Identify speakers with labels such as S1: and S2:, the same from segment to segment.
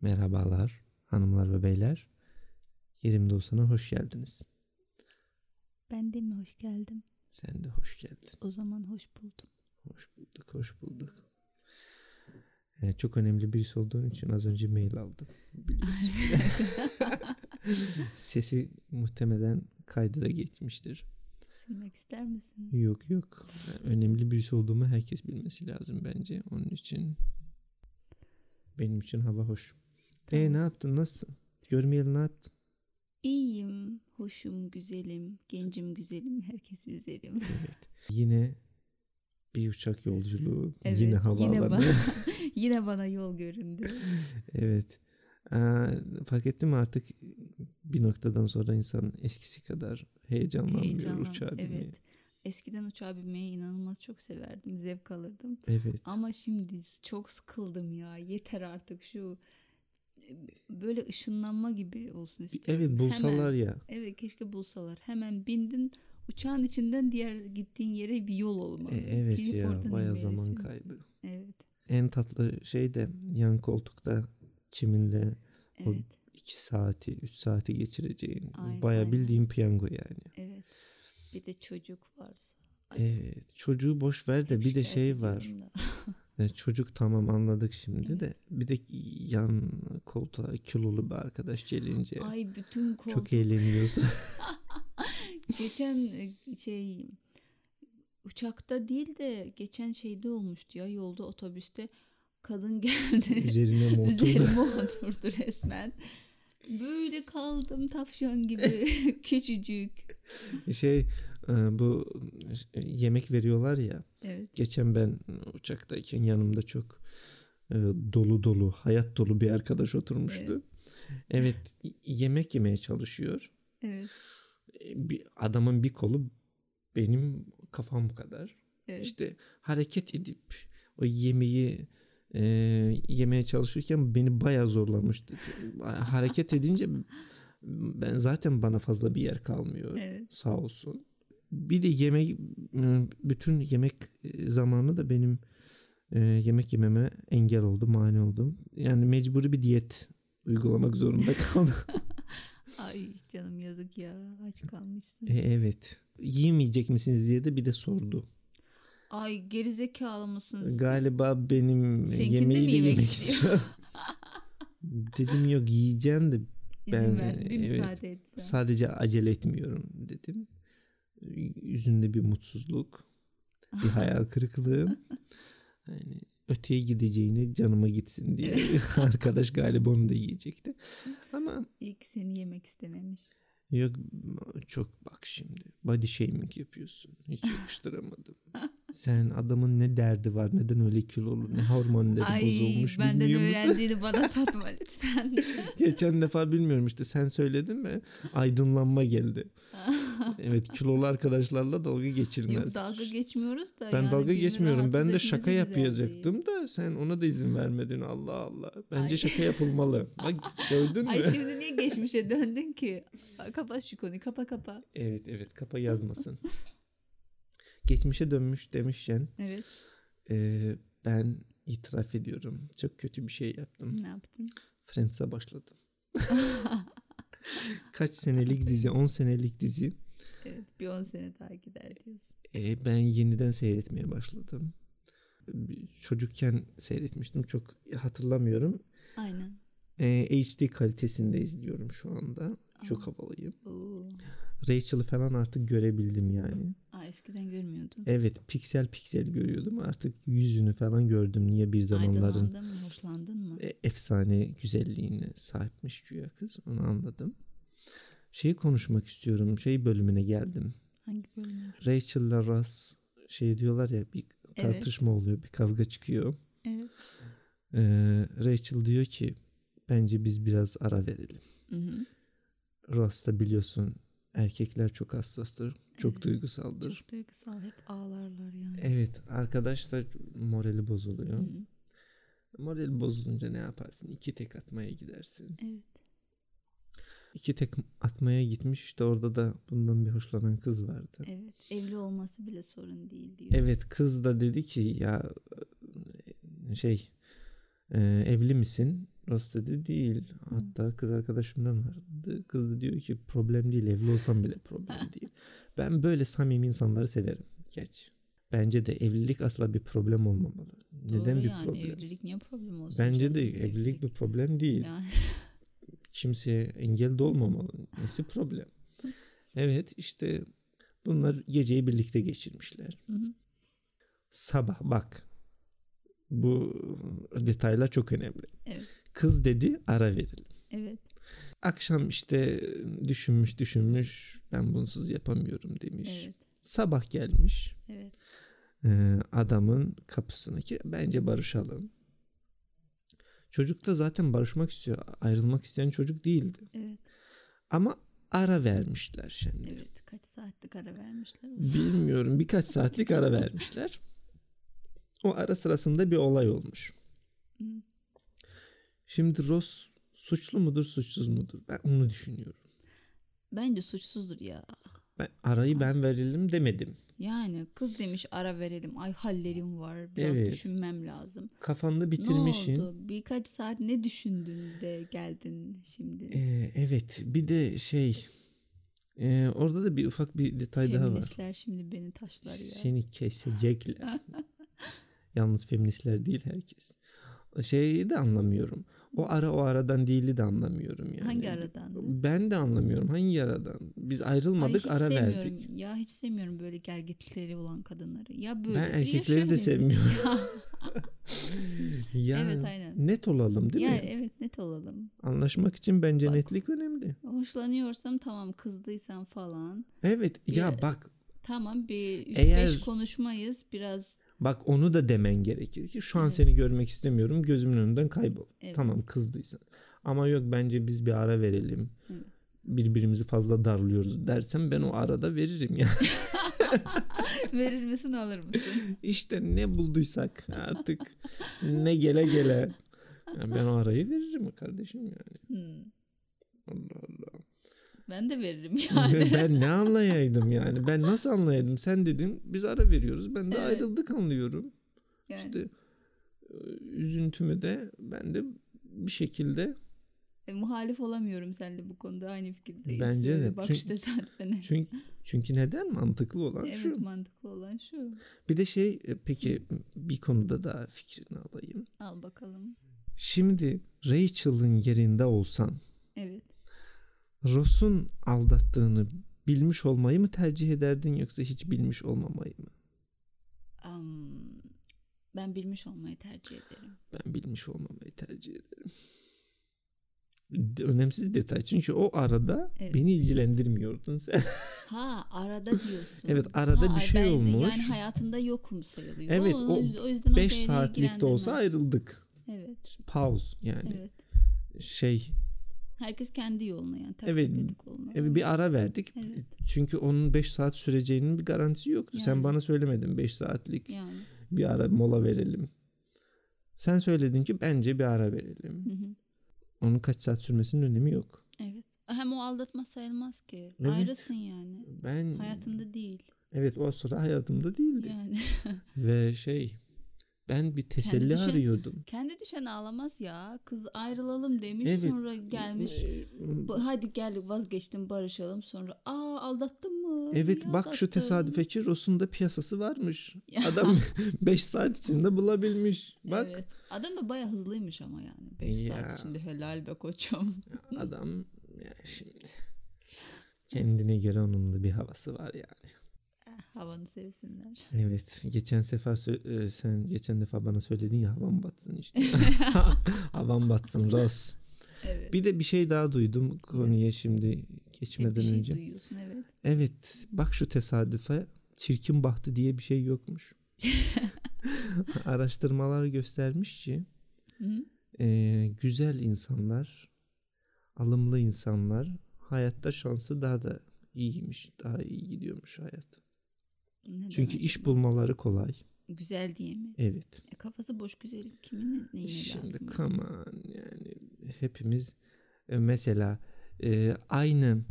S1: Merhabalar hanımlar ve beyler. Yerimde olsana hoş geldiniz.
S2: Ben de mi hoş geldim?
S1: Sen de hoş geldin.
S2: O zaman hoş buldum.
S1: Hoş bulduk, hoş bulduk. Ee, çok önemli birisi olduğun için az önce mail aldım. Biliyorsun. Sesi muhtemelen kayda da geçmiştir.
S2: Silmek ister misin?
S1: Yok yok. Yani önemli birisi olduğumu herkes bilmesi lazım bence. Onun için benim için hava hoş. E
S2: Tamam.
S1: ne yaptın? Nasıl? Görmeyeli ne yaptın?
S2: İyiyim, hoşum, güzelim, gencim, güzelim, herkes üzerim.
S1: Yine bir uçak yolculuğu,
S2: Evet,
S1: yine
S2: yine
S1: havaalanı.
S2: ba- Yine bana yol göründü.
S1: evet. Aa, fark ettin mi artık bir noktadan sonra insan eskisi kadar heyecanlanmıyor
S2: Heyecanlı.
S1: uçağa binmeye.
S2: Evet. Eskiden uçağa binmeyi inanılmaz çok severdim, zevk alırdım.
S1: Evet.
S2: Ama şimdi çok sıkıldım ya. Yeter artık şu böyle ışınlanma gibi olsun istiyorum.
S1: Evet bulsalar
S2: Hemen.
S1: ya.
S2: Evet keşke bulsalar. Hemen bindin uçağın içinden diğer gittiğin yere bir yol olmalı.
S1: E, evet
S2: Gidip
S1: ya
S2: oradan
S1: baya
S2: inmelisin.
S1: zaman kaybı.
S2: Evet.
S1: En tatlı şey de yan koltukta kiminle O-
S2: Evet.
S1: 2 saati 3 saati geçireceğin
S2: Aynen,
S1: baya
S2: aynen.
S1: bildiğin piyango yani.
S2: Evet. Bir de çocuk varsa. Ay,
S1: Evet, çocuğu boş ver de
S2: hep
S1: bir de
S2: şikayet
S1: şey var.
S2: ediyorum da.
S1: Ya E, çocuk tamam anladık şimdi
S2: Evet.
S1: de bir de yan koltuğa kilolu bir arkadaş gelince
S2: Ay bütün koltuk.
S1: çok eğleniyorsun.
S2: Geçen e, şey uçakta değil de geçen şeyde olmuştu ya yolda otobüste kadın geldi.
S1: Üzerine mi oturdu?
S2: Üzerime oturdu resmen. Böyle kaldım tavşan gibi küçücük.
S1: şey e, bu e, yemek veriyorlar ya
S2: Evet.
S1: geçen ben uçaktayken yanımda çok e, dolu dolu hayat dolu bir arkadaş oturmuştu. Evet y- yemek yemeye çalışıyor.
S2: Evet.
S1: E, Bir, adamın bir kolu benim kafam bu kadar.
S2: Evet.
S1: İşte hareket edip o yemeği e, yemeye çalışırken beni bayağı zorlamıştı. Çünkü hareket edince ben zaten bana fazla bir yer kalmıyor
S2: Evet.
S1: sağ olsun. Bir de yemek e, bütün yemek zamanı da benim e, yemek yememe engel oldu, mani oldum. Yani mecburi bir diyet uygulamak zorunda kaldım.
S2: Ay canım yazık ya aç kalmışsın.
S1: E, evet. Yiyemeyecek misiniz diye de bir de sordu.
S2: Ay gerizekalı mısınız?
S1: Galiba benim
S2: Seninkini de
S1: yemeği
S2: mi
S1: de
S2: yemek
S1: yemek
S2: istiyor?
S1: istiyor. dedim yok yiyeceğim de
S2: İzin
S1: ben-
S2: ver bir
S1: evet.
S2: müsaade etsen.
S1: sadece acele etmiyorum dedim. Yüzünde bir mutsuzluk, bir hayal kırıklığı. Yani öteye gideceğini canıma gitsin diye arkadaş galiba onu da yiyecekti. Ama
S2: İyi ki seni yemek istememiş.
S1: yok çok bak şimdi body shaming yapıyorsun. Hiç yakıştıramadım. Sen adamın ne derdi var? Neden öyle kilolu? Ne hormonları
S2: Ay
S1: bozulmuş
S2: benden
S1: bilmiyor musun?
S2: öğrendiğini bana satma lütfen.
S1: Geçen defa bilmiyorum işte sen söyledin mi aydınlanma geldi. evet kilolu arkadaşlarla dalga
S2: Yok
S1: geçilmez.
S2: dalga geçmiyoruz da.
S1: ben
S2: yani
S1: dalga
S2: birbirini
S1: geçmiyorum.
S2: rahatsız
S1: Ben de
S2: etmesi
S1: şaka
S2: güzel değil.
S1: yapacaktım da sen ona da izin vermedin Allah Allah. Bence
S2: Ay.
S1: şaka yapılmalı. Bak gördün mü?
S2: Ay şey- şimdi niye geçmişe döndün ki? Ay, Kapat şu konuyu kapa kapa.
S1: Evet evet kapa yazmasın. Geçmişe dönmüş demişken
S2: Evet
S1: e, ben itiraf ediyorum. Çok kötü bir şey yaptım.
S2: ne yaptın?
S1: Friends'e başladım. Kaç senelik dizi? 10 senelik dizi.
S2: Evet bir 10 sene daha gider diyorsun.
S1: E, ben yeniden seyretmeye başladım. Bir- Çocukken seyretmiştim çok hatırlamıyorum.
S2: Aynen.
S1: E, HD kalitesinde izliyorum şu anda. Çok havalıyım.
S2: Oo.
S1: Rachel'ı falan artık görebildim yani.
S2: Aa, eskiden görmüyordun.
S1: Evet piksel piksel görüyordum artık yüzünü falan gördüm. Niye bir zamanların
S2: Aydınlandın mı? Hoşlandın mı?
S1: e, efsane güzelliğine sahipmiş güya kız onu anladım. Şeyi konuşmak istiyorum şey bölümüne geldim.
S2: Hangi bölüme geçtin?
S1: Rachel'la Ross şey diyorlar ya bir tartışma oluyor bir kavga çıkıyor.
S2: Evet.
S1: Ee, Rachel diyor ki bence biz biraz ara verelim.
S2: Hı hı.
S1: Ross da biliyorsun erkekler çok hassastır, çok
S2: Evet.
S1: duygusaldır.
S2: Çok duygusal hep ağlarlar yani.
S1: Evet arkadaş da morali bozuluyor.
S2: Hı.
S1: Morali bozulunca ne yaparsın? İki tek atmaya gidersin.
S2: Evet.
S1: İki tek atmaya gitmiş işte orada da bundan bir hoşlanan kız vardı.
S2: Evet. Evli olması bile sorun değil diyor.
S1: Evet kız da dedi ki ya şey e, evli misin? Rastedi değil. Hatta kız arkadaşımdan vardı. Kız da diyor ki problem değil. Evli olsam bile problem değil. Ben böyle samimi insanları severim. Geç. Bence de evlilik asla bir problem olmamalı. Neden
S2: Doğru
S1: bir
S2: yani
S1: problem?
S2: evlilik niye problem olsun?
S1: Bence
S2: canım?
S1: de evlilik bir problem değil.
S2: Yani,
S1: Kimseye engel de olmamalı. Nasıl problem? Evet işte bunlar geceyi birlikte geçirmişler.
S2: Hı hı.
S1: Sabah bak. Bu detaylar çok önemli.
S2: Evet.
S1: Kız dedi ara verelim.
S2: evet.
S1: Akşam işte düşünmüş düşünmüş ben bunsuz yapamıyorum demiş.
S2: Evet.
S1: Sabah gelmiş
S2: Evet.
S1: e, adamın kapısına ki bence barışalım. Çocuk da zaten barışmak istiyor. Ayrılmak isteyen çocuk değildi.
S2: Evet.
S1: Ama ara vermişler şimdi.
S2: Evet. Kaç saatlik ara vermişler? O zaman-
S1: Bilmiyorum birkaç saatlik ara vermişler. O ara sırasında bir olay olmuş.
S2: Hı.
S1: Şimdi Ross suçlu mudur suçsuz mudur? Ben onu düşünüyorum.
S2: Bence suçsuzdur ya.
S1: Ben arayı ben verelim demedim.
S2: Yani kız demiş ara verelim. Ay hallerim var. Biraz
S1: Evet.
S2: düşünmem lazım.
S1: Kafanda bitirmişim.
S2: Ne oldu? Birkaç saat ne düşündün de geldin şimdi?
S1: Ee, evet bir de şey ee, orada da bir ufak bir detay daha var.
S2: Feministler şimdi beni taşlar ya.
S1: Seni kesecekler. Yalnız feministler değil herkes. Şeyi de anlamıyorum. O ara o aradan değildi de anlamıyorum yani.
S2: Hangi aradandı?
S1: Ben de anlamıyorum hangi aradan. Biz
S2: Ay,
S1: ayrılmadık
S2: hiç
S1: ara
S2: sevmiyorum.
S1: verdik.
S2: Ya hiç sevmiyorum böyle gelgitleri olan kadınları. Ya böyle
S1: Ben erkekleri de sevmiyorum. yani
S2: Evet, aynen.
S1: net olalım değil
S2: ya
S1: mi?
S2: evet net olalım.
S1: Anlaşmak için bence
S2: Bak.
S1: netlik önemli.
S2: Hoşlanıyorsam tamam kızdıysam falan.
S1: Evet ya
S2: Ya-
S1: bak
S2: Tamam bir 3-5
S1: Eğer-
S2: konuşmayız biraz
S1: bak onu da demen gerekir ki şu an
S2: Evet.
S1: seni görmek istemiyorum gözümün önünden kaybol.
S2: Evet.
S1: Tamam kızdıysan. Ama yok bence biz bir ara verelim.
S2: Evet.
S1: Birbirimizi fazla darlıyoruz dersem ben o arada veririm ya.
S2: verir misin alır mısın?
S1: işte ne bulduysak artık ne gele gele. Ya ben o arayı veririm kardeşim yani.
S2: Hmm.
S1: Allah Allah.
S2: Ben de veririm yani.
S1: ben ne anlayaydım yani? Ben nasıl anlayaydım? Sen dedin biz ara veriyoruz. Ben de
S2: Evet.
S1: ayrıldık anlıyorum.
S2: yani.
S1: İşte e, üzüntümü de ben de bir şekilde
S2: E, muhalif olamıyorum seninle bu konuda aynı fikirdeyiz.
S1: Bence de.
S2: Bak
S1: Çünkü-
S2: işte sen beni.
S1: çünkü çünkü neden mantıklı olan
S2: Evet
S1: şu.
S2: mantıklı olan şu.
S1: Bir de şey e, peki bir konuda daha fikrini alayım.
S2: Al bakalım.
S1: Şimdi Rachel'ın yerinde olsan
S2: Evet.
S1: Ross'un aldattığını bilmiş olmayı mı tercih ederdin yoksa hiç bilmiş olmamayı mı?
S2: Am, ben bilmiş olmayı tercih ederim.
S1: Ben bilmiş olmamayı tercih ederim. De- Önemsiz detay çünkü o arada
S2: Evet.
S1: beni ilgilendirmiyordun sen.
S2: Ha arada diyorsun.
S1: Evet, arada
S2: Ha,
S1: bir şey
S2: ben de
S1: olmuş.
S2: Yani hayatında yokum sayılıyor.
S1: Evet,
S2: Onun-
S1: o
S2: yüzden
S1: 5
S2: beni
S1: saatlik de olsa
S2: ilgilendirmez.
S1: ayrıldık.
S2: Evet
S1: Pause yani
S2: evet.
S1: şey
S2: Herkes kendi yoluna yani
S1: Evet,
S2: taksepedik olma.
S1: evet, e, bir ara verdik.
S2: Evet.
S1: Çünkü onun 5 saat süreceğinin bir garantisi yoktu. Sen
S2: Yani.
S1: bana söylemedin 5 saatlik
S2: Yani.
S1: bir ara mola verelim. Sen söyledin ki bence bir ara verelim.
S2: Hı hı.
S1: Onun kaç saat sürmesinin önemi yok.
S2: Evet. Hem o aldatma sayılmaz ki.
S1: Evet. Hmm.
S2: Ayrısın yani.
S1: Ben
S2: Hayatında değil.
S1: evet o sıra hayatımda değildi.
S2: Yani.
S1: Ve şey ben bir teselli
S2: düşün-
S1: arıyordum.
S2: Kendi düşen ağlamaz ya. Kız ayrılalım demiş
S1: Evet.
S2: sonra gelmiş.
S1: Ee,
S2: "Bu- Hadi gel vazgeçtim barışalım sonra. Aa aldattın mı?
S1: Evet
S2: Niye
S1: bak şu
S2: aldattın?"
S1: tesadüfe ki Ross'un da piyasası varmış.
S2: Ya.
S1: Adam 5 saat içinde bulabilmiş. Bak
S2: Evet. Adam da baya hızlıymış ama yani. 5
S1: Ya.
S2: saat içinde helal be koçum.
S1: adam ya şimdi kendine göre onun da bir havası var yani.
S2: Havanı sevsinler.
S1: Evet geçen sefer sö- e, sen geçen defa bana söyledin ya havan batsın işte. havan batsın Ross.
S2: Evet.
S1: Bir de bir şey daha duydum konuya şimdi
S2: Hep
S1: geçmeden
S2: bir şey
S1: önce.
S2: duyuyorsun evet.
S1: Evet bak şu tesadüfe çirkin bahtı diye bir şey yokmuş. Araştırmalar göstermiş ki
S2: Hı?
S1: e, güzel insanlar, alımlı insanlar hayatta şansı daha da iyiymiş, daha iyi gidiyormuş hayat.
S2: Neden
S1: Çünkü
S2: acaba?
S1: iş bulmaları kolay.
S2: Güzel diye mi?
S1: Evet.
S2: E, kafası boş güzelim kimin neyine
S1: Şimdi
S2: lazım?
S1: come on yani hepimiz e, mesela e, aynı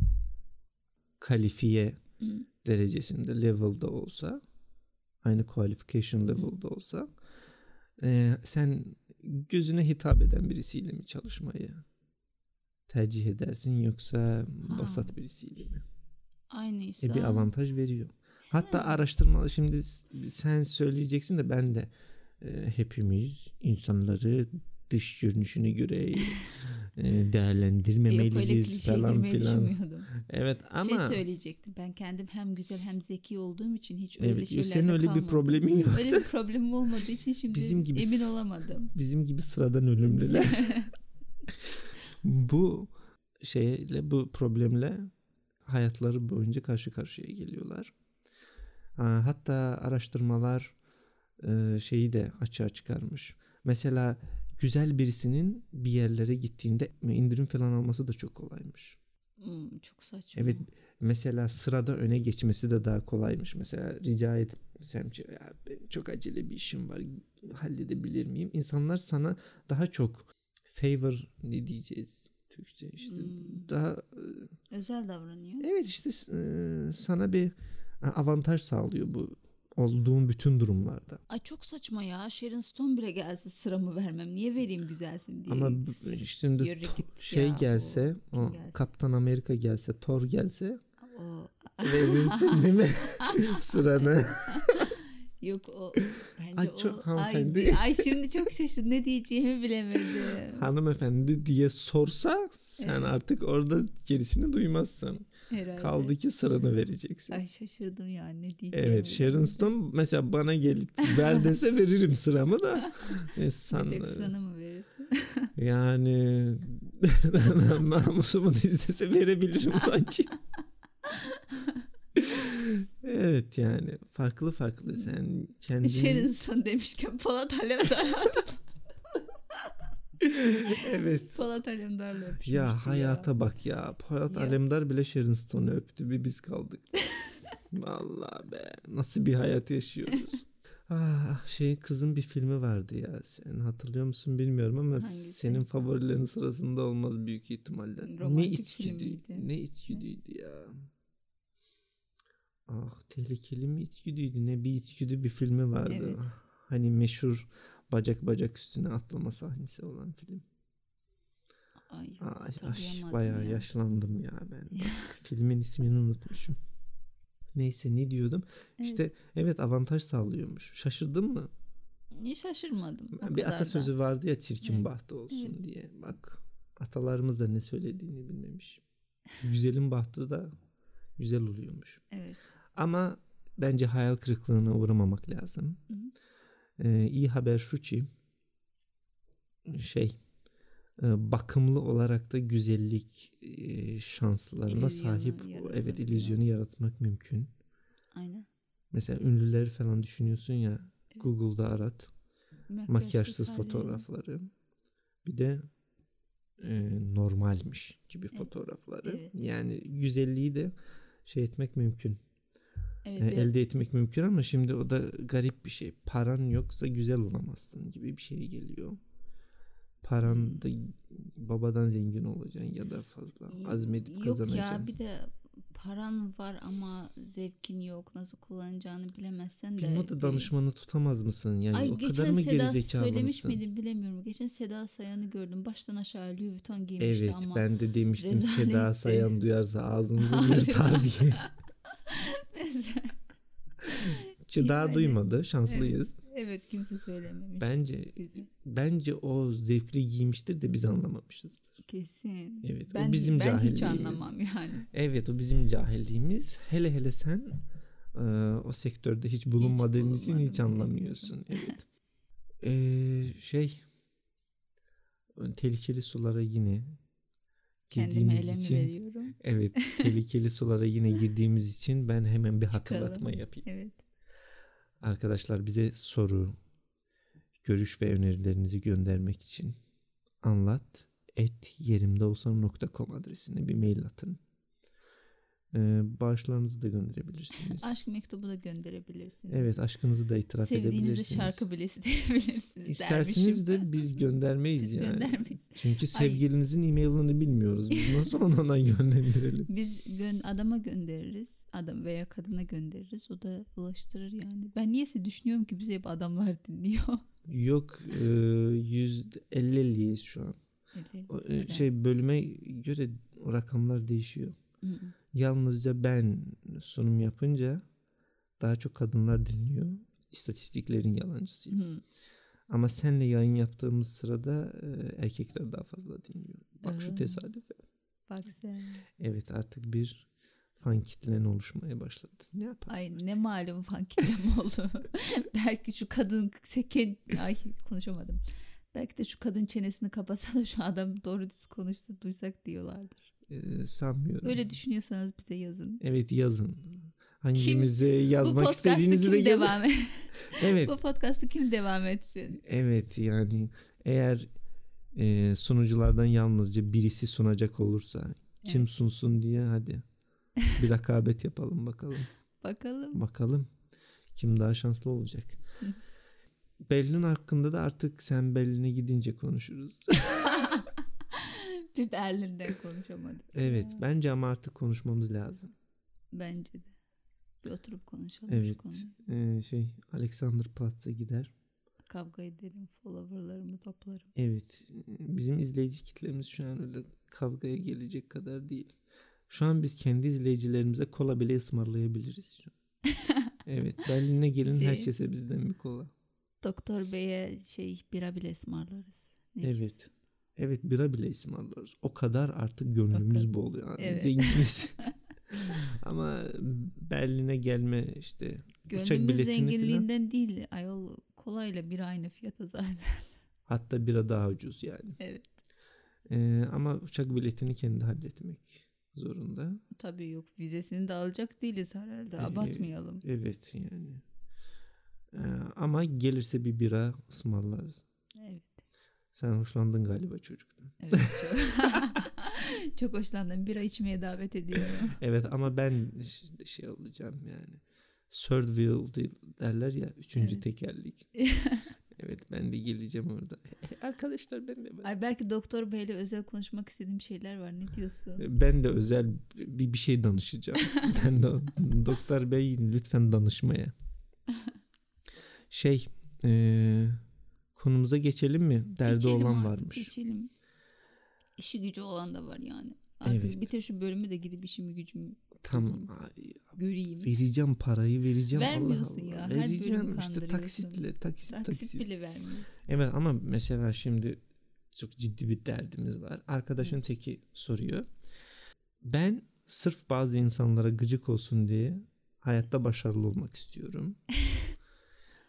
S1: kalifiye
S2: Hı.
S1: derecesinde level'da olsa aynı qualification level'da olsa e, sen gözüne hitap eden birisiyle mi çalışmayı tercih edersin yoksa vasat birisiyle mi?
S2: Aynıysa.
S1: E bir avantaj veriyor. Hatta araştırmalı şimdi s- sen söyleyeceksin de ben de e, hepimiz insanları dış görünüşüne göre e,
S2: Yok öyle
S1: değerlendirmemeliyiz
S2: klişe
S1: falan
S2: girmeyi
S1: filan.
S2: düşünmüyordum.
S1: Evet
S2: Şey
S1: ama
S2: söyleyecektim ben kendim hem güzel hem zeki olduğum için hiç öyle
S1: evet,
S2: şeylerde
S1: senin öyle
S2: kalmadım.
S1: bir problemin yok.
S2: Öyle bir problemim olmadığı için şimdi
S1: Bizim gibi
S2: emin
S1: s-
S2: olamadım.
S1: Bizim gibi sıradan ölümlüler. bu şeyle bu problemle hayatları boyunca karşı karşıya geliyorlar. Ha, Hatta araştırmalar e, şeyi de açığa çıkarmış. Mesela güzel birisinin bir yerlere gittiğinde indirim falan alması da çok kolaymış.
S2: Hmm, çok saçma.
S1: Evet mesela sırada öne geçmesi de daha kolaymış. Mesela rica etsem ki, "Ya benim çok acele bir işim var halledebilir miyim? İnsanlar sana daha çok favor ne diyeceğiz Türkçe işte
S2: Hmm.
S1: daha
S2: Özel davranıyor.
S1: evet işte e, sana bir e, avantaj sağlıyor bu olduğun bütün durumlarda.
S2: Ay çok saçma ya. Sharon Stone bile gelse sıramı vermem. Niye vereyim güzelsin diye.
S1: Ama bu-
S2: S-
S1: şimdi
S2: yürü
S1: to-
S2: git
S1: şey
S2: ya, o-
S1: gelse,
S2: kim
S1: o
S2: gelse?
S1: Kaptan Amerika gelse, Thor gelse
S2: o-
S1: verirsin değil mi sıranı?
S2: yok o. Bence
S1: Ay çok
S2: o.
S1: hanımefendi.
S2: Ay, ay şimdi çok şaşırdım. Ne diyeceğimi bilemedim.
S1: hanımefendi diye sorsa sen artık orada gerisini duymazsın.
S2: Herhalde.
S1: Kaldı ki sıranı vereceksin.
S2: Ay şaşırdım ya ne diyeceğimi.
S1: Evet Sharon Stone mesela bana gelip ver dese veririm sıramı da. E,
S2: Bir
S1: sen,
S2: tek sana mı verirsin?
S1: yani namusumu da istese verebilirim sanki. evet yani farklı farklı sen
S2: Sharon
S1: kendini
S2: Stone demişken Polat Alemdar.
S1: evet
S2: Polat Alemdar'la öpüşmüştü
S1: Ya hayata bak ya. Polat
S2: Ya.
S1: Alemdar bile Sharon Stone'u öptü. Bir biz kaldık. Vallahi be. Nasıl bir hayat yaşıyoruz. ah, şey kızın bir filmi vardı ya. Sen hatırlıyor musun bilmiyorum ama
S2: Hangisi?
S1: senin favorilerin sırasında olmaz büyük ihtimalle. ne
S2: Romantik
S1: içgüdü,
S2: filmiydi.
S1: ne içgüdüydü ya. Ah tehlikeli mi içgüdüydü ne bir içgüdü bir filmi vardı.
S2: Evet.
S1: Hani meşhur bacak bacak üstüne atlama sahnesi olan film.
S2: Ay,
S1: Ay,
S2: hatırlayamadım
S1: aş, bayağı
S2: ya.
S1: yaşlandım ya ben. Bak, filmin ismini unutmuşum. Neyse ne diyordum?
S2: Evet.
S1: İşte evet avantaj sağlıyormuş. Şaşırdın mı?
S2: Niye şaşırmadım? O
S1: bir
S2: kadar da.
S1: atasözü vardı ya çirkin
S2: Evet.
S1: bahtı olsun diye. Bak atalarımız da ne söylediğini bilmemiş. Güzelin bahtı da güzel oluyormuş.
S2: Evet.
S1: Ama bence hayal kırıklığına uğramamak lazım.
S2: Hı.
S1: Ee, iyi haber şu ki şey e, bakımlı olarak da güzellik e, şanslarına
S2: İllüzyonu
S1: sahip evet
S2: yaratabiliyor.
S1: illüzyonu yaratmak mümkün.
S2: Aynen.
S1: Mesela ünlüleri falan düşünüyorsun ya Google'da arat makyajsız
S2: halleri.
S1: fotoğrafları bir de e, normalmiş gibi fotoğrafları
S2: evet.
S1: yani güzelliği de şey etmek mümkün
S2: Evet,
S1: e,
S2: bir-
S1: elde etmek mümkün ama şimdi o da garip bir şey. Paran yoksa güzel olamazsın gibi bir şey geliyor.
S2: Hmm.
S1: Paran da babadan zengin olacaksın ya da fazla
S2: Yok-
S1: azmedip
S2: Yok
S1: kazanacaksın.
S2: ya bir de paran var ama zevkin yok. Nasıl kullanacağını bilemezsen de.
S1: bir moda danışmanı tutamaz mısın? Yani
S2: Ay
S1: o kadar
S2: geçen
S1: mı
S2: Seda
S1: gerizekalı
S2: söylemiş
S1: mısın?
S2: miydim bilemiyorum. Geçen Seda Sayan'ı gördüm. Baştan aşağı Louis Vuitton giymişti
S1: Evet
S2: ama.
S1: ben de demiştim
S2: rezaletti.
S1: Seda Sayan duyarsa ağzınızı
S2: Hayır.
S1: yırtar diye.
S2: Neyse.
S1: Ki daha
S2: Yani,
S1: duymadı şanslıyız.
S2: evet kimse söylememiş.
S1: Bence
S2: Güzel.
S1: bence o zevkli giymiştir de biz anlamamışızdır.
S2: Kesin.
S1: Evet, o
S2: ben,
S1: bizim
S2: ben hiç
S1: cahilliğimiz.
S2: anlamam yani.
S1: Evet o bizim cahilliğimiz. Hele hele sen e, o sektörde hiç bulunmadığın için hiç
S2: bulunmadım.
S1: anlamıyorsun. Evet. E, şey tehlikeli sulara yine
S2: Kendime
S1: girdiğimiz
S2: elemi
S1: için
S2: veriyorum.
S1: evet tehlikeli sulara yine girdiğimiz için ben hemen bir hatırlatma
S2: Çıkalım.
S1: yapayım.
S2: Evet.
S1: Arkadaşlar bize soru, görüş ve önerilerinizi göndermek için anlat et yerimde olsam.com adresine bir mail atın. Ee, bağışlarınızı da gönderebilirsiniz.
S2: Aşk mektubu da gönderebilirsiniz.
S1: Evet aşkınızı da itiraf
S2: Sevdiğinize
S1: edebilirsiniz.
S2: şarkı bile isteyebilirsiniz dermişim.
S1: İsterseniz de biz göndermeyiz
S2: Biz
S1: yani.
S2: göndermeyiz.
S1: Çünkü sevgilinizin e-mailini bilmiyoruz. Biz nasıl ona yönlendirelim?
S2: Biz gön adama göndeririz. Adam veya kadına göndeririz. O da ulaştırır yani. Ben niyeyse düşünüyorum ki bizi hep adamlar dinliyor.
S1: Yok e, 150-50'yiz şu an.
S2: Öyle
S1: O, e,
S2: güzel.
S1: Şey bölüme göre rakamlar değişiyor.
S2: Hı hı.
S1: Yalnızca ben sunum yapınca daha çok kadınlar dinliyor. İstatistiklerin yalancısıyım.
S2: Hı.
S1: Ama senle yayın yaptığımız sırada e, erkekler daha fazla dinliyor. Bak şu
S2: Aa.
S1: tesadüfe.
S2: Bak sen.
S1: Evet artık bir fan kitlen oluşmaya başladı. Ne yapalım?
S2: Ay ne malum fan kitlem oldu. Belki şu kadın seken... Ay konuşamadım. Belki de şu kadın çenesini kapasa da şu adam doğru düz konuştu duysak diyorlardır.
S1: Ee, sanmıyorum.
S2: Öyle düşünüyorsanız bize yazın.
S1: Evet yazın. Hangimize yazmak
S2: Bu podcast'ı
S1: istediğinizi
S2: kim
S1: de yazın.
S2: devam et?
S1: Evet.
S2: Bu podcast'ı kim devam etsin?
S1: Evet yani eğer e, sunuculardan yalnızca birisi sunacak olursa kim
S2: Evet.
S1: sunsun diye hadi bir rekabet yapalım bakalım.
S2: Bakalım.
S1: Bakalım kim daha şanslı olacak.
S2: Hı.
S1: Berlin hakkında da artık sen Berlin'e gidince konuşuruz.
S2: Bir Berlin'den konuşamadık.
S1: evet bence ama artık konuşmamız lazım.
S2: Bence de. Bir oturup konuşalım şu
S1: Evet.
S2: konuyu.
S1: Ee, şey Alexanderplatz'a gider.
S2: Kavga edelim. Followerlarımı toplarım.
S1: Evet. Bizim izleyici kitlemiz şu an öyle kavgaya gelecek kadar değil. Şu an biz kendi izleyicilerimize kola bile ısmarlayabiliriz. şu an. evet. Berlin'e gelin
S2: Şey-
S1: herkese bizden bir kola.
S2: Doktor Bey'e şey bira bile ısmarlarız. Ne
S1: Evet.
S2: diyorsun?
S1: Evet bira bile ısmarlarız. O kadar artık gönlümüz
S2: Bakın.
S1: bol yani.
S2: Evet.
S1: Zenginiz. Ama Berlin'e gelme işte uçak
S2: Gönlümüz
S1: biletini falan.
S2: zenginliğinden değil. Ayol kolayla bir aynı fiyata zaten.
S1: Hatta bira daha ucuz yani.
S2: Evet.
S1: Ee, ama uçak biletini kendi halletmek zorunda.
S2: Tabii yok. Vizesini de alacak değiliz herhalde.
S1: Ee,
S2: Abartmayalım.
S1: Evet yani. Ee, ama gelirse bir bira ısmarlarız.
S2: Evet.
S1: Sen hoşlandın galiba çocuktan.
S2: Evet. Çok, çok hoşlandım. Bira içmeye davet ediyorum.
S1: Evet ama ben ş- şey olacağım yani. Third wheel de- derler ya. Üçüncü
S2: Evet.
S1: tekerlik. evet ben de geleceğim orada. Arkadaşlar ben de
S2: Ay belki doktor beyle özel konuşmak istediğim şeyler var. Ne diyorsun?
S1: ben de özel bir, bir şey danışacağım. ben de doktor bey lütfen danışmaya. Şey e, konumuza geçelim mi? Derdi
S2: Geçelim
S1: olan
S2: artık,
S1: varmış.
S2: Geçelim. İşi gücü olan da var yani. Artık
S1: Evet.
S2: bitir şu bölümü de gidip işimi gücümü
S1: Tamam. Ay,
S2: göreyim.
S1: Vereceğim parayı vereceğim. Allah
S2: Vermiyorsun
S1: Allah.
S2: ya, her
S1: Vereceğim
S2: bölümü
S1: işte
S2: kandırıyorsun.
S1: taksitle taksit taksit.
S2: Taksit bile vermiyorsun.
S1: Evet E, ama mesela şimdi çok ciddi bir derdimiz var. Arkadaşın teki soruyor. Ben sırf bazı insanlara gıcık olsun diye hayatta başarılı olmak istiyorum.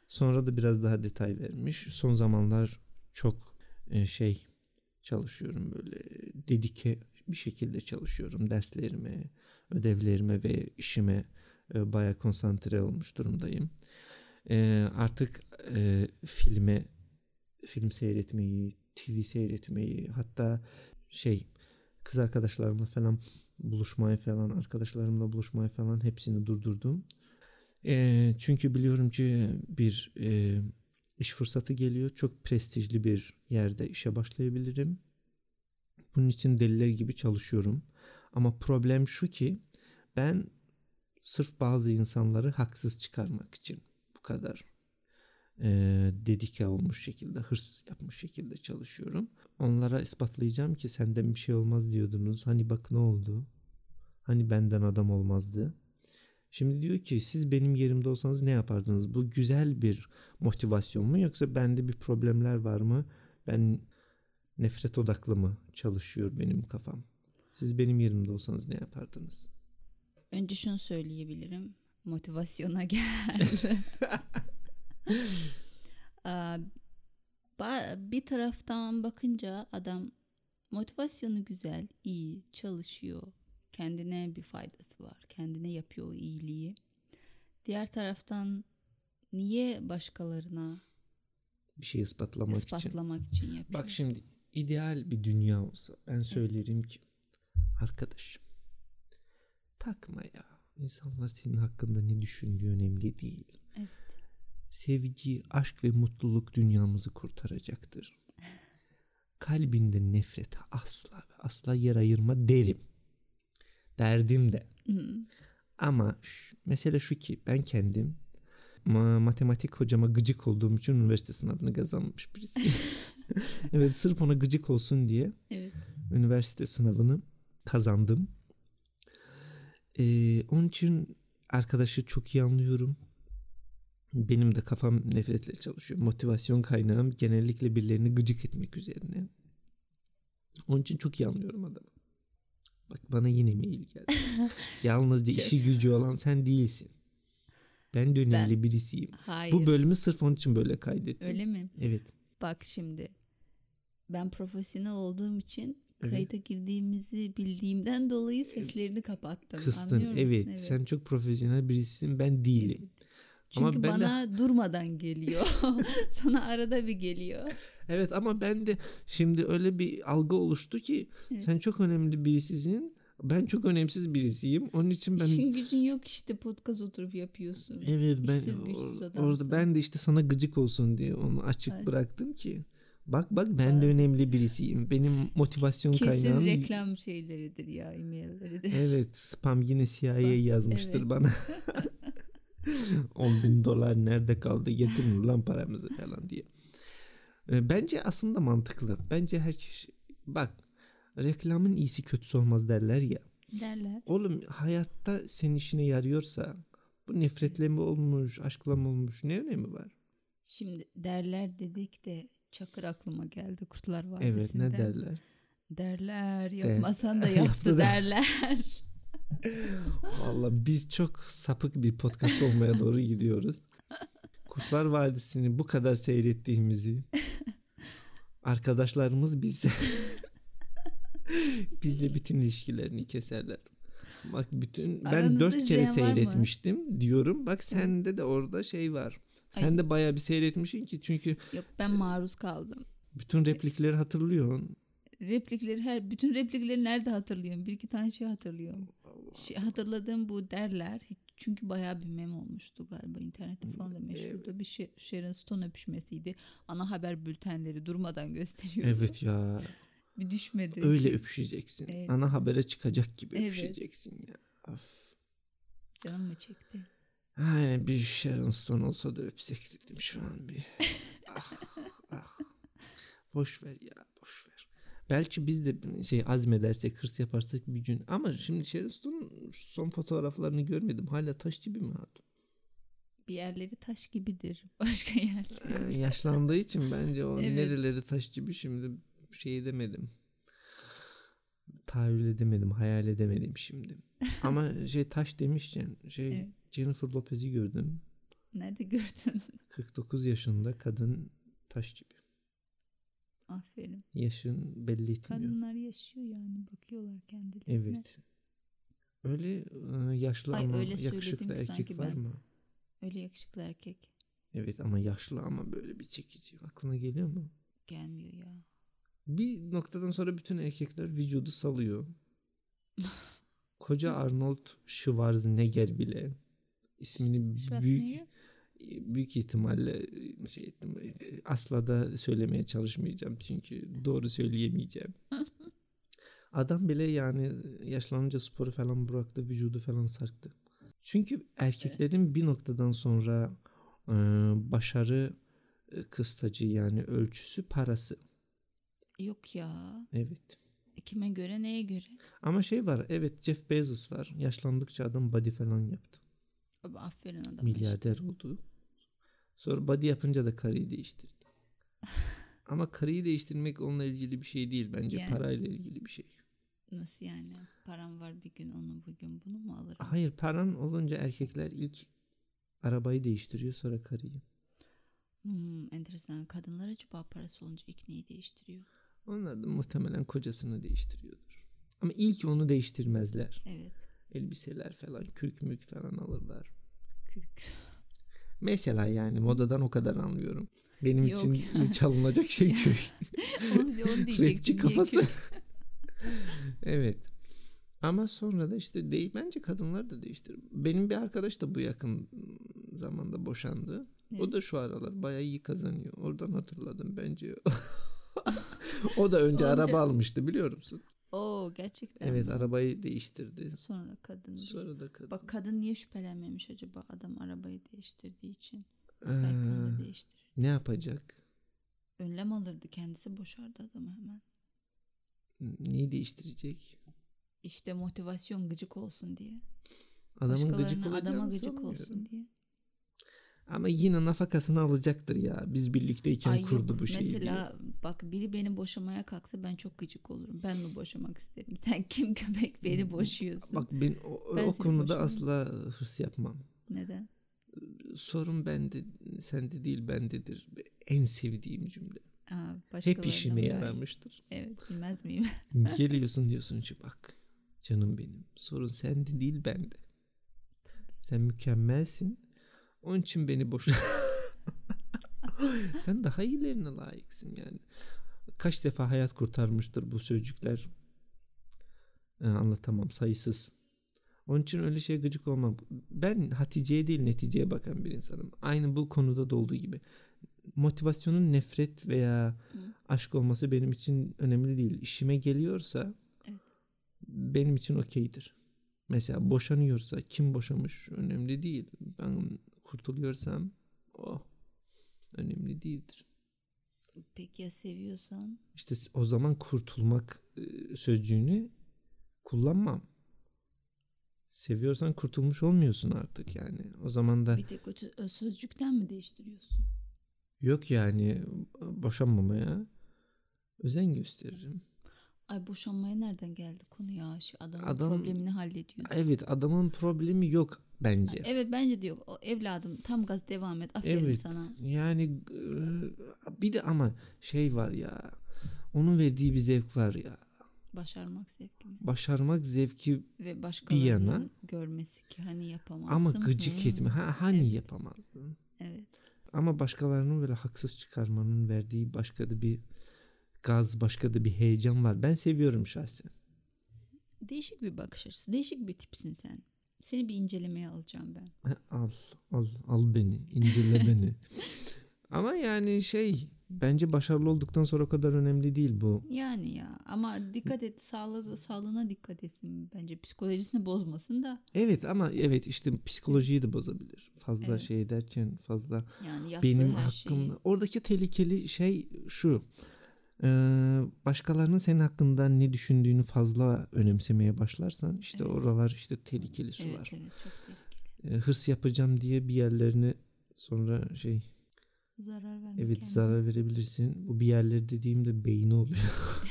S1: Sonra da biraz daha detay vermiş. Son zamanlar çok e, şey çalışıyorum böyle dedike bir şekilde çalışıyorum derslerime, ödevlerime ve işime e, baya konsantre olmuş durumdayım. E, artık e, filme film seyretmeyi, TV seyretmeyi, hatta şey kız arkadaşlarımla falan buluşmayı falan, arkadaşlarımla buluşmayı falan hepsini durdurdum. E, çünkü biliyorum ki bir e, iş fırsatı geliyor. Çok prestijli bir yerde işe başlayabilirim. Bunun için deliler gibi çalışıyorum. Ama problem şu ki ben sırf bazı insanları haksız çıkarmak için bu kadar e, dedike olmuş şekilde, hırs yapmış şekilde çalışıyorum. Onlara ispatlayacağım ki senden bir şey olmaz diyordunuz. Hani bak ne oldu? Hani benden adam olmazdı. Şimdi diyor ki siz benim yerimde olsanız ne yapardınız? Bu güzel bir motivasyon mu yoksa bende bir problemler var mı? Ben nefret odaklı mı çalışıyor benim kafam? Siz benim yerimde olsanız ne yapardınız?
S2: Önce şunu söyleyebilirim. Motivasyona gel. Aa, ba- bir taraftan bakınca adam motivasyonu güzel, iyi, çalışıyor. Kendine bir faydası var. Kendine yapıyor o iyiliği. Diğer taraftan niye başkalarına
S1: Bir şey ispatlamak için.
S2: ispatlamak için, yapıyor?
S1: Bak şimdi ideal bir dünya olsa ben söylerim ki arkadaşım Takma ya. İnsanlar senin hakkında ne düşündüğü önemli değil.
S2: Evet.
S1: Sevgi, aşk ve mutluluk dünyamızı kurtaracaktır. Kalbinde nefrete asla ve asla yer ayırma derim. Derdim de.
S2: Hmm.
S1: Ama şu, mesele şu ki ben kendim ma- matematik hocama gıcık olduğum için üniversite sınavını kazanmış birisi. evet sırf ona gıcık olsun diye
S2: Evet.
S1: üniversite sınavını kazandım. Ee, onun için arkadaşı çok iyi anlıyorum. Benim de kafam nefretle çalışıyor. Motivasyon kaynağım genellikle birilerini gıcık etmek üzerine. Onun için çok iyi anlıyorum adamı. Bak bana yine mail geldi. Yalnızca
S2: Şey-
S1: işi gücü olan sen değilsin. Ben de önemli birisiyim.
S2: Hayır.
S1: Bu bölümü sırf onun için böyle kaydettim.
S2: Öyle mi?
S1: Evet.
S2: Bak şimdi. Ben profesyonel olduğum için
S1: Evet.
S2: kayıta girdiğimizi bildiğimden dolayı seslerini kapattım.
S1: Kıstın.
S2: Anlıyor
S1: Evet,
S2: musun?
S1: Sen çok profesyonel birisin. Ben değilim. Ama
S2: Çünkü
S1: ben de-
S2: bana durmadan geliyor. Sana arada bir geliyor.
S1: Evet ama ben de şimdi öyle bir algı oluştu ki
S2: Evet.
S1: sen çok önemli birisisin. Ben çok önemsiz birisiyim. Onun için ben
S2: İşin gücün yok işte podcast oturup yapıyorsun.
S1: evet ben
S2: işsiz güçsüz
S1: or-
S2: adamsın.
S1: orada ben de işte sana gıcık olsun diye onu açık
S2: Ay.
S1: bıraktım ki bak bak ben de önemli birisiyim. Benim motivasyon
S2: Kesin
S1: kaynağım
S2: reklam şeyleridir ya e-mailleridir.
S1: Evet spam yine CIA
S2: Spam,
S1: yazmıştır
S2: evet.
S1: bana. 10 bin dolar nerede kaldı getirin lan paramızı falan diye. E, Bence aslında mantıklı. Bence her kişi bak reklamın iyisi kötüsü olmaz derler ya.
S2: Derler.
S1: Oğlum hayatta senin işine yarıyorsa bu nefretle mi olmuş, aşkla mı olmuş ne önemi var?
S2: Şimdi derler dedik de Çakır aklıma geldi Kurtlar
S1: Evet
S2: Vadisi'nden.
S1: ne derler?
S2: Derler yapmasan da yaptı
S1: Yaptı da-
S2: derler.
S1: Valla biz çok sapık bir podcast olmaya doğru gidiyoruz. Kurtlar Vadisi'ni bu kadar seyrettiğimizi arkadaşlarımız bilse bizle bütün ilişkilerini keserler. Bak bütün ben
S2: Aranızda
S1: dört kere
S2: izleyen var mı?
S1: seyretmiştim diyorum. Bak sende de orada şey var. Sen
S2: Ay.
S1: de bayağı bir seyretmişsin ki çünkü
S2: Yok ben maruz kaldım.
S1: bütün replikleri hatırlıyorsun.
S2: Replikleri her bütün replikleri nerede hatırlıyorum? Bir iki tane şey hatırlıyorum. Şey, hatırladığım bu derler. Hiç- Çünkü bayağı bir mem olmuştu galiba internette falan da meşhurdu. Bir şey, Sharon Stone öpüşmesiydi. Ana haber bültenleri durmadan gösteriyor.
S1: Evet ya.
S2: Bir düşmedi.
S1: Öyle öpüşeceksin.
S2: Evet.
S1: Ana habere çıkacak gibi
S2: Evet.
S1: öpüşeceksin ya. Of.
S2: Canım mı çekti?
S1: Aynen Hani bir Sharon Stone olsa da öpsek dedim şu an bir. ah, ah. Boş ver ya boş ver. Belki biz de şey azmedersek, hırs yaparsak bir gün. Ama şimdi Sharon Stone'un son fotoğraflarını görmedim. Hala taş gibi mi hatun?
S2: Bir yerleri taş gibidir. Başka yerleri.
S1: Yani yaşlandığı için bence o
S2: Evet.
S1: nereleri taş gibi şimdi şey edemedim. Tahayyül edemedim, hayal edemedim şimdi. Ama şey taş demişken şey
S2: Evet.
S1: Jennifer Lopez'i gördüm.
S2: Nerede gördün?
S1: 49 yaşında kadın taş gibi.
S2: Aferin.
S1: Yaşın belli etmiyor.
S2: Kadınlar yaşıyor yani. Bakıyorlar kendilerine.
S1: Evet. Öyle e, yaşlı
S2: Ay,
S1: ama
S2: öyle söyledim
S1: yakışıklı
S2: ki
S1: erkek
S2: sanki
S1: var
S2: ben.
S1: mı?
S2: Öyle yakışıklı erkek
S1: Evet ama yaşlı ama böyle bir çekici. Aklına geliyor mu?
S2: gelmiyor ya.
S1: Bir noktadan sonra bütün erkekler vücudu salıyor. Koca Arnold Schwarzenegger bile ismini büyük
S2: Şurasını
S1: büyük ihtimalle şey ettim. Asla da söylemeye çalışmayacağım çünkü doğru söyleyemeyeceğim. Adam bile yani yaşlanınca sporu falan bıraktı, vücudu falan sarktı. Çünkü erkeklerin bir noktadan sonra e, başarı e, kıstacı yani ölçüsü parası.
S2: Yok ya.
S1: Evet.
S2: E, Kime göre neye göre?
S1: Ama şey var. Evet Jeff Bezos var. Yaşlandıkça adam body falan yaptı.
S2: Abi aferin adama.
S1: milyarder oldu. Sonra body yapınca da karıyı değiştirdi. Ama karıyı değiştirmek onunla ilgili bir şey değil bence.
S2: Yani.
S1: Parayla ilgili bir şey.
S2: işte. Nasıl yani? Param var bir gün onu bugün bunu mu alırım?
S1: Hayır paran olunca erkekler ilk arabayı değiştiriyor sonra karıyı.
S2: Hmm, enteresan. Kadınlar acaba parası olunca ilk neyi değiştiriyor?
S1: Onlar da muhtemelen kocasını değiştiriyordur. Ama ilk onu değiştirmezler.
S2: Evet.
S1: Elbiseler falan kürk mürk falan alırlar.
S2: Kürk.
S1: Mesela yani modadan o kadar anlıyorum. Benim
S2: Yok
S1: için
S2: ya.
S1: ilk alınacak şey kürk.
S2: onu, onu diyecektim.
S1: Rapçi
S2: Niye
S1: kafası.
S2: kürk?
S1: evet. Ama sonra da işte değil bence kadınlar da değiştir. Benim bir arkadaş da bu yakın zamanda boşandı. O
S2: Evet.
S1: da şu aralar bayağı iyi kazanıyor. Oradan hatırladım bence. o da önce
S2: Onca-
S1: araba almıştı biliyor musun?
S2: Oo gerçekten.
S1: Evet
S2: mi?
S1: arabayı değiştirdi.
S2: Sonra kadın.
S1: Sonra da kadın.
S2: Bak kadın niye şüphelenmemiş acaba adam arabayı değiştirdiği için?
S1: Ee,
S2: Belki onu da değiştirir.
S1: ne yapacak?
S2: Önlem alırdı kendisi boşardı adamı hemen.
S1: Neyi değiştirecek?
S2: İşte motivasyon gıcık olsun diye.
S1: Adamın gıcık
S2: Başkalarına adama
S1: olacağını
S2: gıcık
S1: sanmıyorum.
S2: olsun diye.
S1: Ama yine nafakasını alacaktır ya. Biz birlikteyken
S2: Ay
S1: kurdu
S2: yok
S1: bu şeyi. diye.
S2: mesela bak biri beni boşamaya kalksa ben çok gıcık olurum. Ben mi boşamak isterim? Sen kim köpek beni boşuyorsun?
S1: Bak ben o,
S2: Ben
S1: o
S2: seni
S1: konuda
S2: boşamam.
S1: asla hırs yapmam.
S2: Neden?
S1: Sorun bende, sende değil bendedir. En sevdiğim cümle.
S2: Aa,
S1: Hep
S2: başkalarına
S1: işime
S2: böyle-
S1: yaramıştır.
S2: Evet bilmez miyim?
S1: Geliyorsun diyorsun ki bak canım benim sorun sende değil bende. Sen mükemmelsin. Onun için beni boş. Sen daha iyilerine layıksın yani. Kaç defa hayat kurtarmıştır bu sözcükler. Ee, anlatamam sayısız. Onun için öyle şeye gıcık olmam. Ben Hatice'ye değil neticeye bakan bir insanım. Aynı bu konuda da olduğu gibi. Motivasyonun nefret veya
S2: Hı.
S1: aşk olması benim için önemli değil. İşime geliyorsa
S2: Evet.
S1: benim için okeydir. Mesela boşanıyorsa kim boşamış önemli değil. Ben kurtuluyorsam oh önemli değildir.
S2: Peki ya seviyorsan?
S1: İşte o zaman kurtulmak e, sözcüğünü kullanmam. Seviyorsan kurtulmuş olmuyorsun artık yani. O zaman da
S2: Bir tek o çö- o sözcükten mi değiştiriyorsun?
S1: yok yani boşanmamaya özen gösteririm.
S2: Ay boşanmaya nereden geldi konu ya? Şu adamın
S1: Adam-
S2: problemini hallediyor.
S1: Evet adamın problemi yok bence.
S2: Evet bence diyor. O evladım tam gaz devam et. Aferin
S1: evet.
S2: sana.
S1: Yani e, bir de ama şey var ya. Onun verdiği bir zevk var ya.
S2: Başarmak zevki mi?
S1: Başarmak zevki
S2: Ve başkalarının
S1: yana.
S2: görmesi ki hani yapamazdım.
S1: ama gıcık
S2: Hı.
S1: etme. Ha, hani yapamazdın.
S2: Hmm. Evet.
S1: Ama başkalarının böyle haksız çıkarmanın verdiği başka da bir gaz, başka da bir heyecan var. Ben seviyorum şahsen.
S2: Değişik bir bakış açısı. Değişik bir tipsin sen. Seni bir incelemeye alacağım ben.
S1: Ha, Al, al, al beni, incele beni. Ama yani şey, bence başarılı olduktan sonra o kadar önemli değil bu.
S2: Yani ya ama dikkat et sağlığı, sağlığına dikkat etsin bence psikolojisini bozmasın da
S1: Evet ama evet işte psikolojiyi de bozabilir. Fazla
S2: Evet.
S1: şey derken fazla
S2: yani yaptığı
S1: benim
S2: her
S1: hakkım.
S2: şeyi.
S1: Oradaki tehlikeli şey şu. Ee, başkalarının senin hakkında ne düşündüğünü fazla önemsemeye başlarsan işte
S2: Evet.
S1: oralar işte tehlikeli
S2: Evet
S1: sular.
S2: evet çok tehlikeli.
S1: Ee, hırs yapacağım diye bir yerlerini sonra şey
S2: Zarar vermek.
S1: evet zarar verebilirsin. Bu bir yerleri dediğimde beyni oluyor.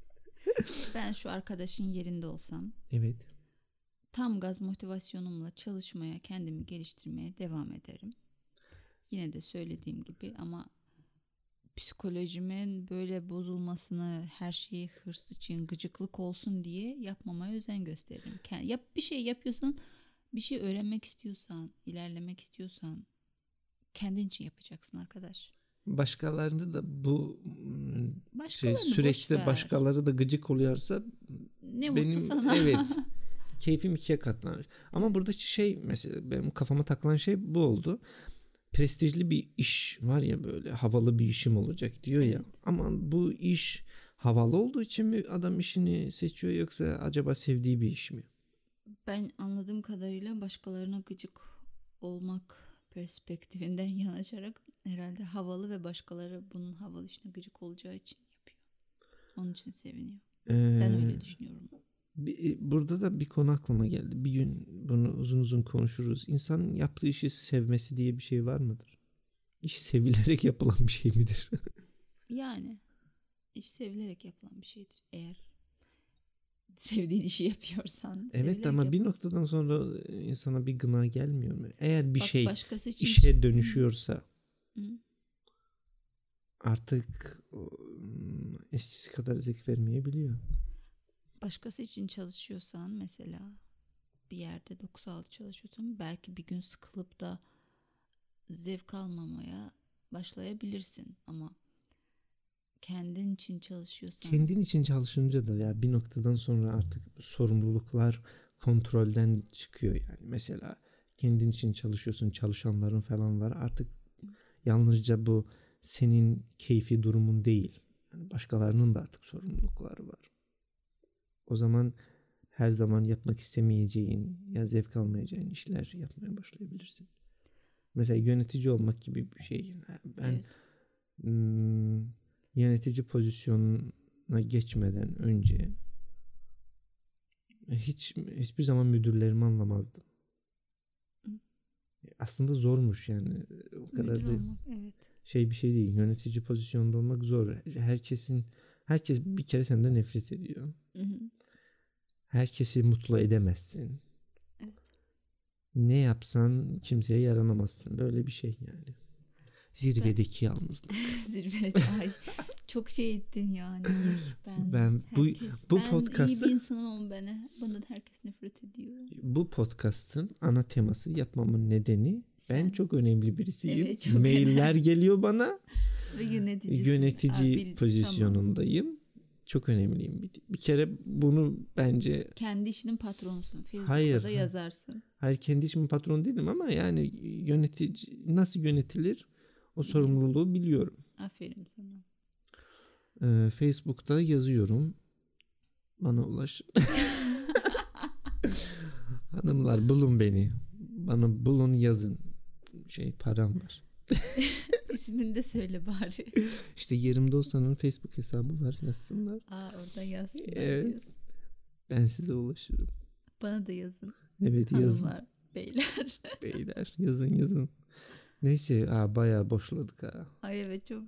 S2: Ben şu arkadaşın yerinde olsam
S1: evet.
S2: tam gaz motivasyonumla çalışmaya, kendimi geliştirmeye devam ederim. Yine de söylediğim gibi ama psikolojimin böyle bozulmasını, her şeyi hırs için gıcıklık olsun diye yapmamaya özen gösteririm. Ke- Yap bir şey yapıyorsan, bir şey öğrenmek istiyorsan, ilerlemek istiyorsan kendin için yapacaksın arkadaş.
S1: Başkalarını da bu mm, şey
S2: Başkalarını boş
S1: süreçte
S2: ver.
S1: başkaları da gıcık oluyorsa
S2: ne mutlu
S1: benim
S2: sana.
S1: evet keyfim ikiye katlanır. Ama buradaki şey mesela benim kafama takılan şey bu oldu. Prestijli bir iş var ya böyle havalı bir işim olacak diyor ya.
S2: Evet.
S1: Ama bu iş havalı olduğu için mi adam işini seçiyor yoksa acaba sevdiği bir iş mi?
S2: Ben anladığım kadarıyla başkalarına gıcık olmak perspektifinden yanaşarak herhalde havalı ve başkaları bunun havalı işine gıcık olacağı için yapıyor. Onun için seviniyor.
S1: Ee,
S2: Ben öyle düşünüyorum.
S1: bir- e, burada da bir konu aklıma geldi. Bir gün bunu uzun uzun konuşuruz. İnsanın yaptığı işi sevmesi diye bir şey var mıdır? İş sevilerek yapılan bir şey midir?
S2: Yani iş sevilerek yapılan bir şeydir. Eğer sevdiğin işi yapıyorsan.
S1: Evet
S2: sevilerek
S1: ama
S2: yap-
S1: bir noktadan sonra e, insana bir gına gelmiyor mu? Eğer bir
S2: Bak
S1: şey
S2: başkası için
S1: işe dönüşüyorsa
S2: Hı.
S1: artık ım, eskisi kadar zevk vermeyebiliyor.
S2: başkası için çalışıyorsan mesela bir yerde 9-6 çalışıyorsan belki bir gün sıkılıp da zevk almamaya başlayabilirsin ama kendin için çalışıyorsan.
S1: Kendin için çalışınca da ya bir noktadan sonra artık sorumluluklar kontrolden çıkıyor yani. Mesela kendin için çalışıyorsun, çalışanların falan var. Artık yalnızca bu senin keyfi durumun değil. Yani başkalarının da artık sorumlulukları var. O zaman her zaman yapmak istemeyeceğin ya zevk almayacağın işler yapmaya başlayabilirsin. Mesela yönetici olmak gibi bir şey. Yani Ben
S2: Evet.
S1: Hmm, yönetici pozisyonuna geçmeden önce hiç hiçbir zaman müdürlerimi anlamazdım. Aslında zormuş yani o kadar
S2: Müdür
S1: da
S2: olmak, evet.
S1: şey bir şey değil. Yönetici pozisyonda olmak zor. Herkesin herkes bir kere senden nefret ediyor.
S2: Hı hı.
S1: Herkesi mutlu edemezsin.
S2: Evet.
S1: Ne yapsan kimseye yaranamazsın. Böyle bir şey yani. Zirvedeki yalnızlık.
S2: Zirve. Ay, çok şey ettin yani. Ben,
S1: Ben bu- bu
S2: ben iyi
S1: podcast'ı-
S2: bir insanım ama bana, bana da herkes nefret ediyor.
S1: Bu podcast'ın ana teması yapmamın nedeni ben
S2: Sen.
S1: çok önemli birisiyim.
S2: Evet, çok
S1: Mailler geliyor bana.
S2: Ve yöneticisin.
S1: Yönetici
S2: Aa, bil- tamam.
S1: pozisyonundayım. Çok önemliyim. Bir, bir kere bunu bence
S2: Kendi işinin patronusun. Facebook'ta
S1: Hayır,
S2: da
S1: ha.
S2: yazarsın.
S1: hayır kendi işimin patronu değilim ama yani yönetici nasıl yönetilir o sorumluluğu biliyorum.
S2: Aferin sana.
S1: Ee, Facebook'ta yazıyorum. Bana ulaş. Hanımlar bulun beni. Bana bulun yazın. Şey param var.
S2: İsmini de söyle bari.
S1: İşte yerimde olsanın Facebook hesabı var yazsınlar.
S2: Aa oradan yazsın.
S1: Evet. Ben size ulaşırım.
S2: Bana da yazın.
S1: Evet yazın
S2: Hanımlar, beyler.
S1: beyler yazın yazın. Neyse ha, bayağı boşladık ha.
S2: Ay evet çok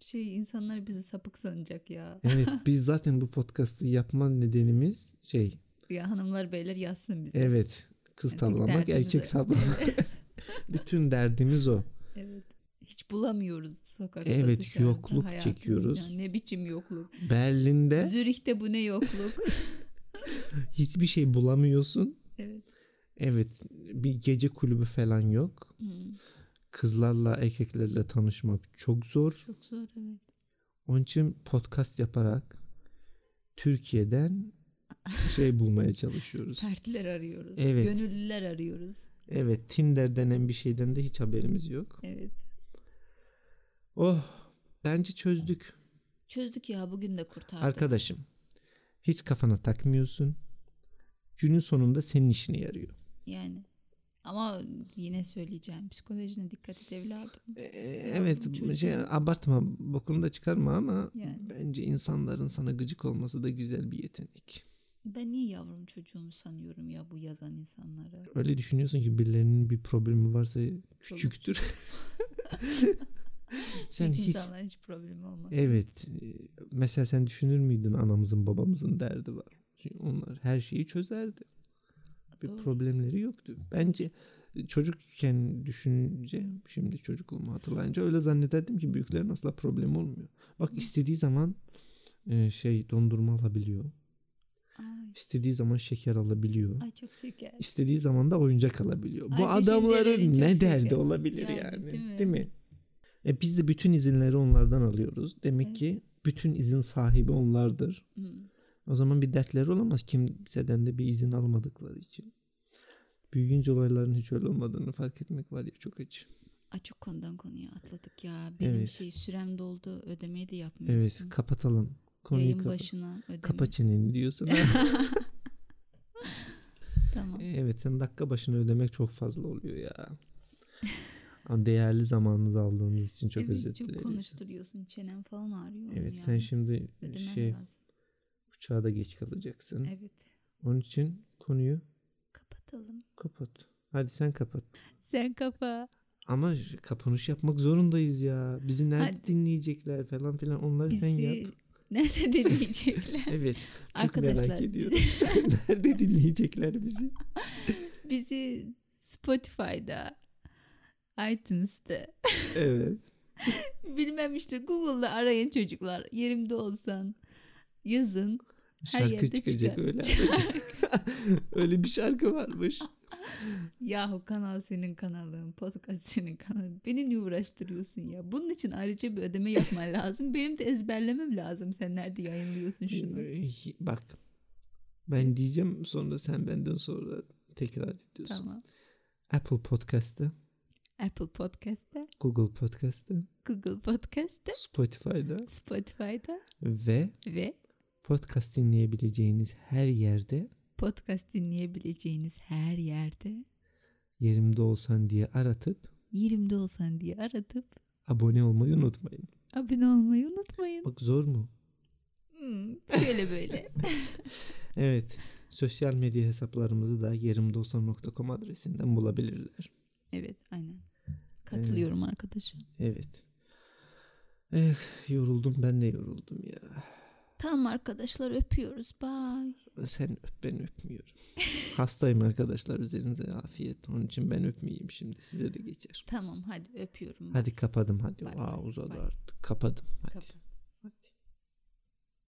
S2: şey insanlar bizi sapık sanacak ya.
S1: Evet biz zaten bu podcast'ı yapma nedenimiz şey
S2: Ya hanımlar beyler yazsın bize.
S1: evet kız
S2: Tek
S1: tavlamak
S2: derdimiz
S1: erkek
S2: o.
S1: tavlamak. Bütün derdimiz o.
S2: Evet. Hiç bulamıyoruz sokakta.
S1: Evet,
S2: dışarıda
S1: yokluk
S2: hayatımızda.
S1: çekiyoruz.
S2: ne biçim yokluk.
S1: Berlin'de
S2: Zürih'te bu ne yokluk.
S1: hiçbir şey bulamıyorsun.
S2: evet.
S1: Evet bir gece kulübü falan yok.
S2: Hmm,
S1: Kızlarla erkeklerle tanışmak çok zor.
S2: çok zor evet.
S1: Onun için podcast yaparak Türkiye'den şey bulmaya çalışıyoruz.
S2: Fertler arıyoruz.
S1: Evet.
S2: Gönüllüler arıyoruz.
S1: Evet Tinder denen bir şeyden de hiç haberimiz yok.
S2: Evet.
S1: Oh bence çözdük
S2: Çözdük ya bugün de kurtardık.
S1: arkadaşım. Hiç kafana takmıyorsun. Günün sonunda senin işine yarıyor.
S2: Yani. Ama yine söyleyeceğim. Psikolojine dikkat et evladım.
S1: E, Evet
S2: çocuğum.
S1: şey abartma bokunu da çıkarma ama
S2: Yani.
S1: bence insanların sana gıcık olması da güzel bir yetenek.
S2: Ben niye yavrum çocuğumu sanıyorum ya bu yazan insanları?
S1: Öyle düşünüyorsun ki birilerinin bir problemi varsa küçüktür. Sen
S2: Peki
S1: hiç
S2: insanların hiç problemi olmaz.
S1: Evet. e, Mesela sen düşünür müydün anamızın babamızın derdi var. Çünkü onlar her şeyi çözerdi. Bir
S2: Doğru.
S1: problemleri yoktu. Bence çocukken düşününce şimdi çocukluğumu hatırlayınca öyle zannederdim ki büyüklerin asla problemi olmuyor. Bak istediği zaman e, şey dondurma alabiliyor.
S2: Ay,
S1: İstediği zaman şeker alabiliyor.
S2: ay çok şeker.
S1: İstediği zaman da oyuncak alabiliyor. Bu
S2: Ay, düşünceleri
S1: adamların
S2: çok
S1: ne derdi
S2: şeker.
S1: olabilir yani,
S2: Yani,
S1: değil
S2: değil
S1: mi?
S2: mi?
S1: E biz de bütün izinleri onlardan alıyoruz. Demek
S2: Evet.
S1: ki bütün izin sahibi onlardır.
S2: Hmm.
S1: O zaman bir dertleri olamaz kimseden de bir izin almadıkları için. Büyüyünce olayların hiç öyle olmadığını fark etmek var ya çok acı.
S2: Ay çok konudan konuya atladık ya. Benim
S1: Evet.
S2: şey sürem doldu. Ödemeyi de
S1: Evet
S2: yapmıyorsun.
S1: kapatalım. Konuyu
S2: Yayın
S1: kapa.
S2: başına ödeme.
S1: Kapa çeneni diyorsun. ha.
S2: Tamam.
S1: evet sen dakika başına ödemek çok fazla oluyor ya. Ama Değerli zamanınızı aldığınız için çok
S2: Evet,
S1: özür
S2: Çok
S1: dileriz.
S2: konuşturuyorsun. Çenem falan ağrıyor.
S1: Evet
S2: yani.
S1: sen şimdi
S2: Ödemen
S1: şey
S2: lazım.
S1: uçağa da geç kalacaksın.
S2: Evet.
S1: Onun için konuyu
S2: Kapatalım.
S1: kapat. Hadi sen kapat.
S2: Sen kapa.
S1: Ama ş- kapanış yapmak zorundayız ya. Bizi nerede
S2: Hadi.
S1: dinleyecekler falan filan onları sen
S2: Bizi
S1: yap.
S2: nerede dinleyecekler?
S1: Evet. Çok merak
S2: Arkadaşlar
S1: ediyorum. nerede dinleyecekler bizi?
S2: bizi Spotify'da, iTunes'te,
S1: Evet.
S2: bilmem işte Google'da arayın çocuklar. Yerimde olsan yazın. Her
S1: Şarkı
S2: yerde
S1: çıkacak
S2: çıkar.
S1: öyle. öyle bir şarkı varmış.
S2: Yahu kanal senin kanalın, podcast senin kanalın. Beni niye uğraştırıyorsun ya? Bunun için ayrıca bir ödeme yapman lazım. Benim de ezberlemem lazım. Sen nerede yayınlıyorsun şunu?
S1: Ee, Bak. Ben diyeceğim sonra sen benden sonra tekrar ediyorsun.
S2: tamam.
S1: Apple Podcast'ta,
S2: Apple Podcast'te,
S1: Google Podcast'ta,
S2: Google Podcast'te,
S1: Spotify'da
S2: Spotify'da
S1: ve
S2: ve
S1: podcast dinleyebileceğiniz her yerde
S2: podcast dinleyebileceğiniz her yerde
S1: yerimde olsan diye aratıp
S2: 20'de olsan diye aratıp
S1: abone olmayı unutmayın.
S2: abone olmayı unutmayın.
S1: Bak zor mu?
S2: Hmm, şöyle böyle.
S1: Evet. Sosyal medya hesaplarımızı da yerimdeolsan.com adresinden bulabilirler.
S2: evet aynen. Katılıyorum arkadaşım.
S1: Evet. Eh, yoruldum ben de yoruldum ya.
S2: Tamam arkadaşlar öpüyoruz. Bye.
S1: Sen öp ben öpmüyorum. Hastayım arkadaşlar üzerinize afiyet. Onun için ben öpmeyeyim şimdi size de geçer.
S2: Tamam hadi öpüyorum.
S1: Hadi kapadım hadi.
S2: Bay
S1: Aa
S2: bay,
S1: uzadı
S2: bay.
S1: artık. Kapadım hadi.
S2: Kapat.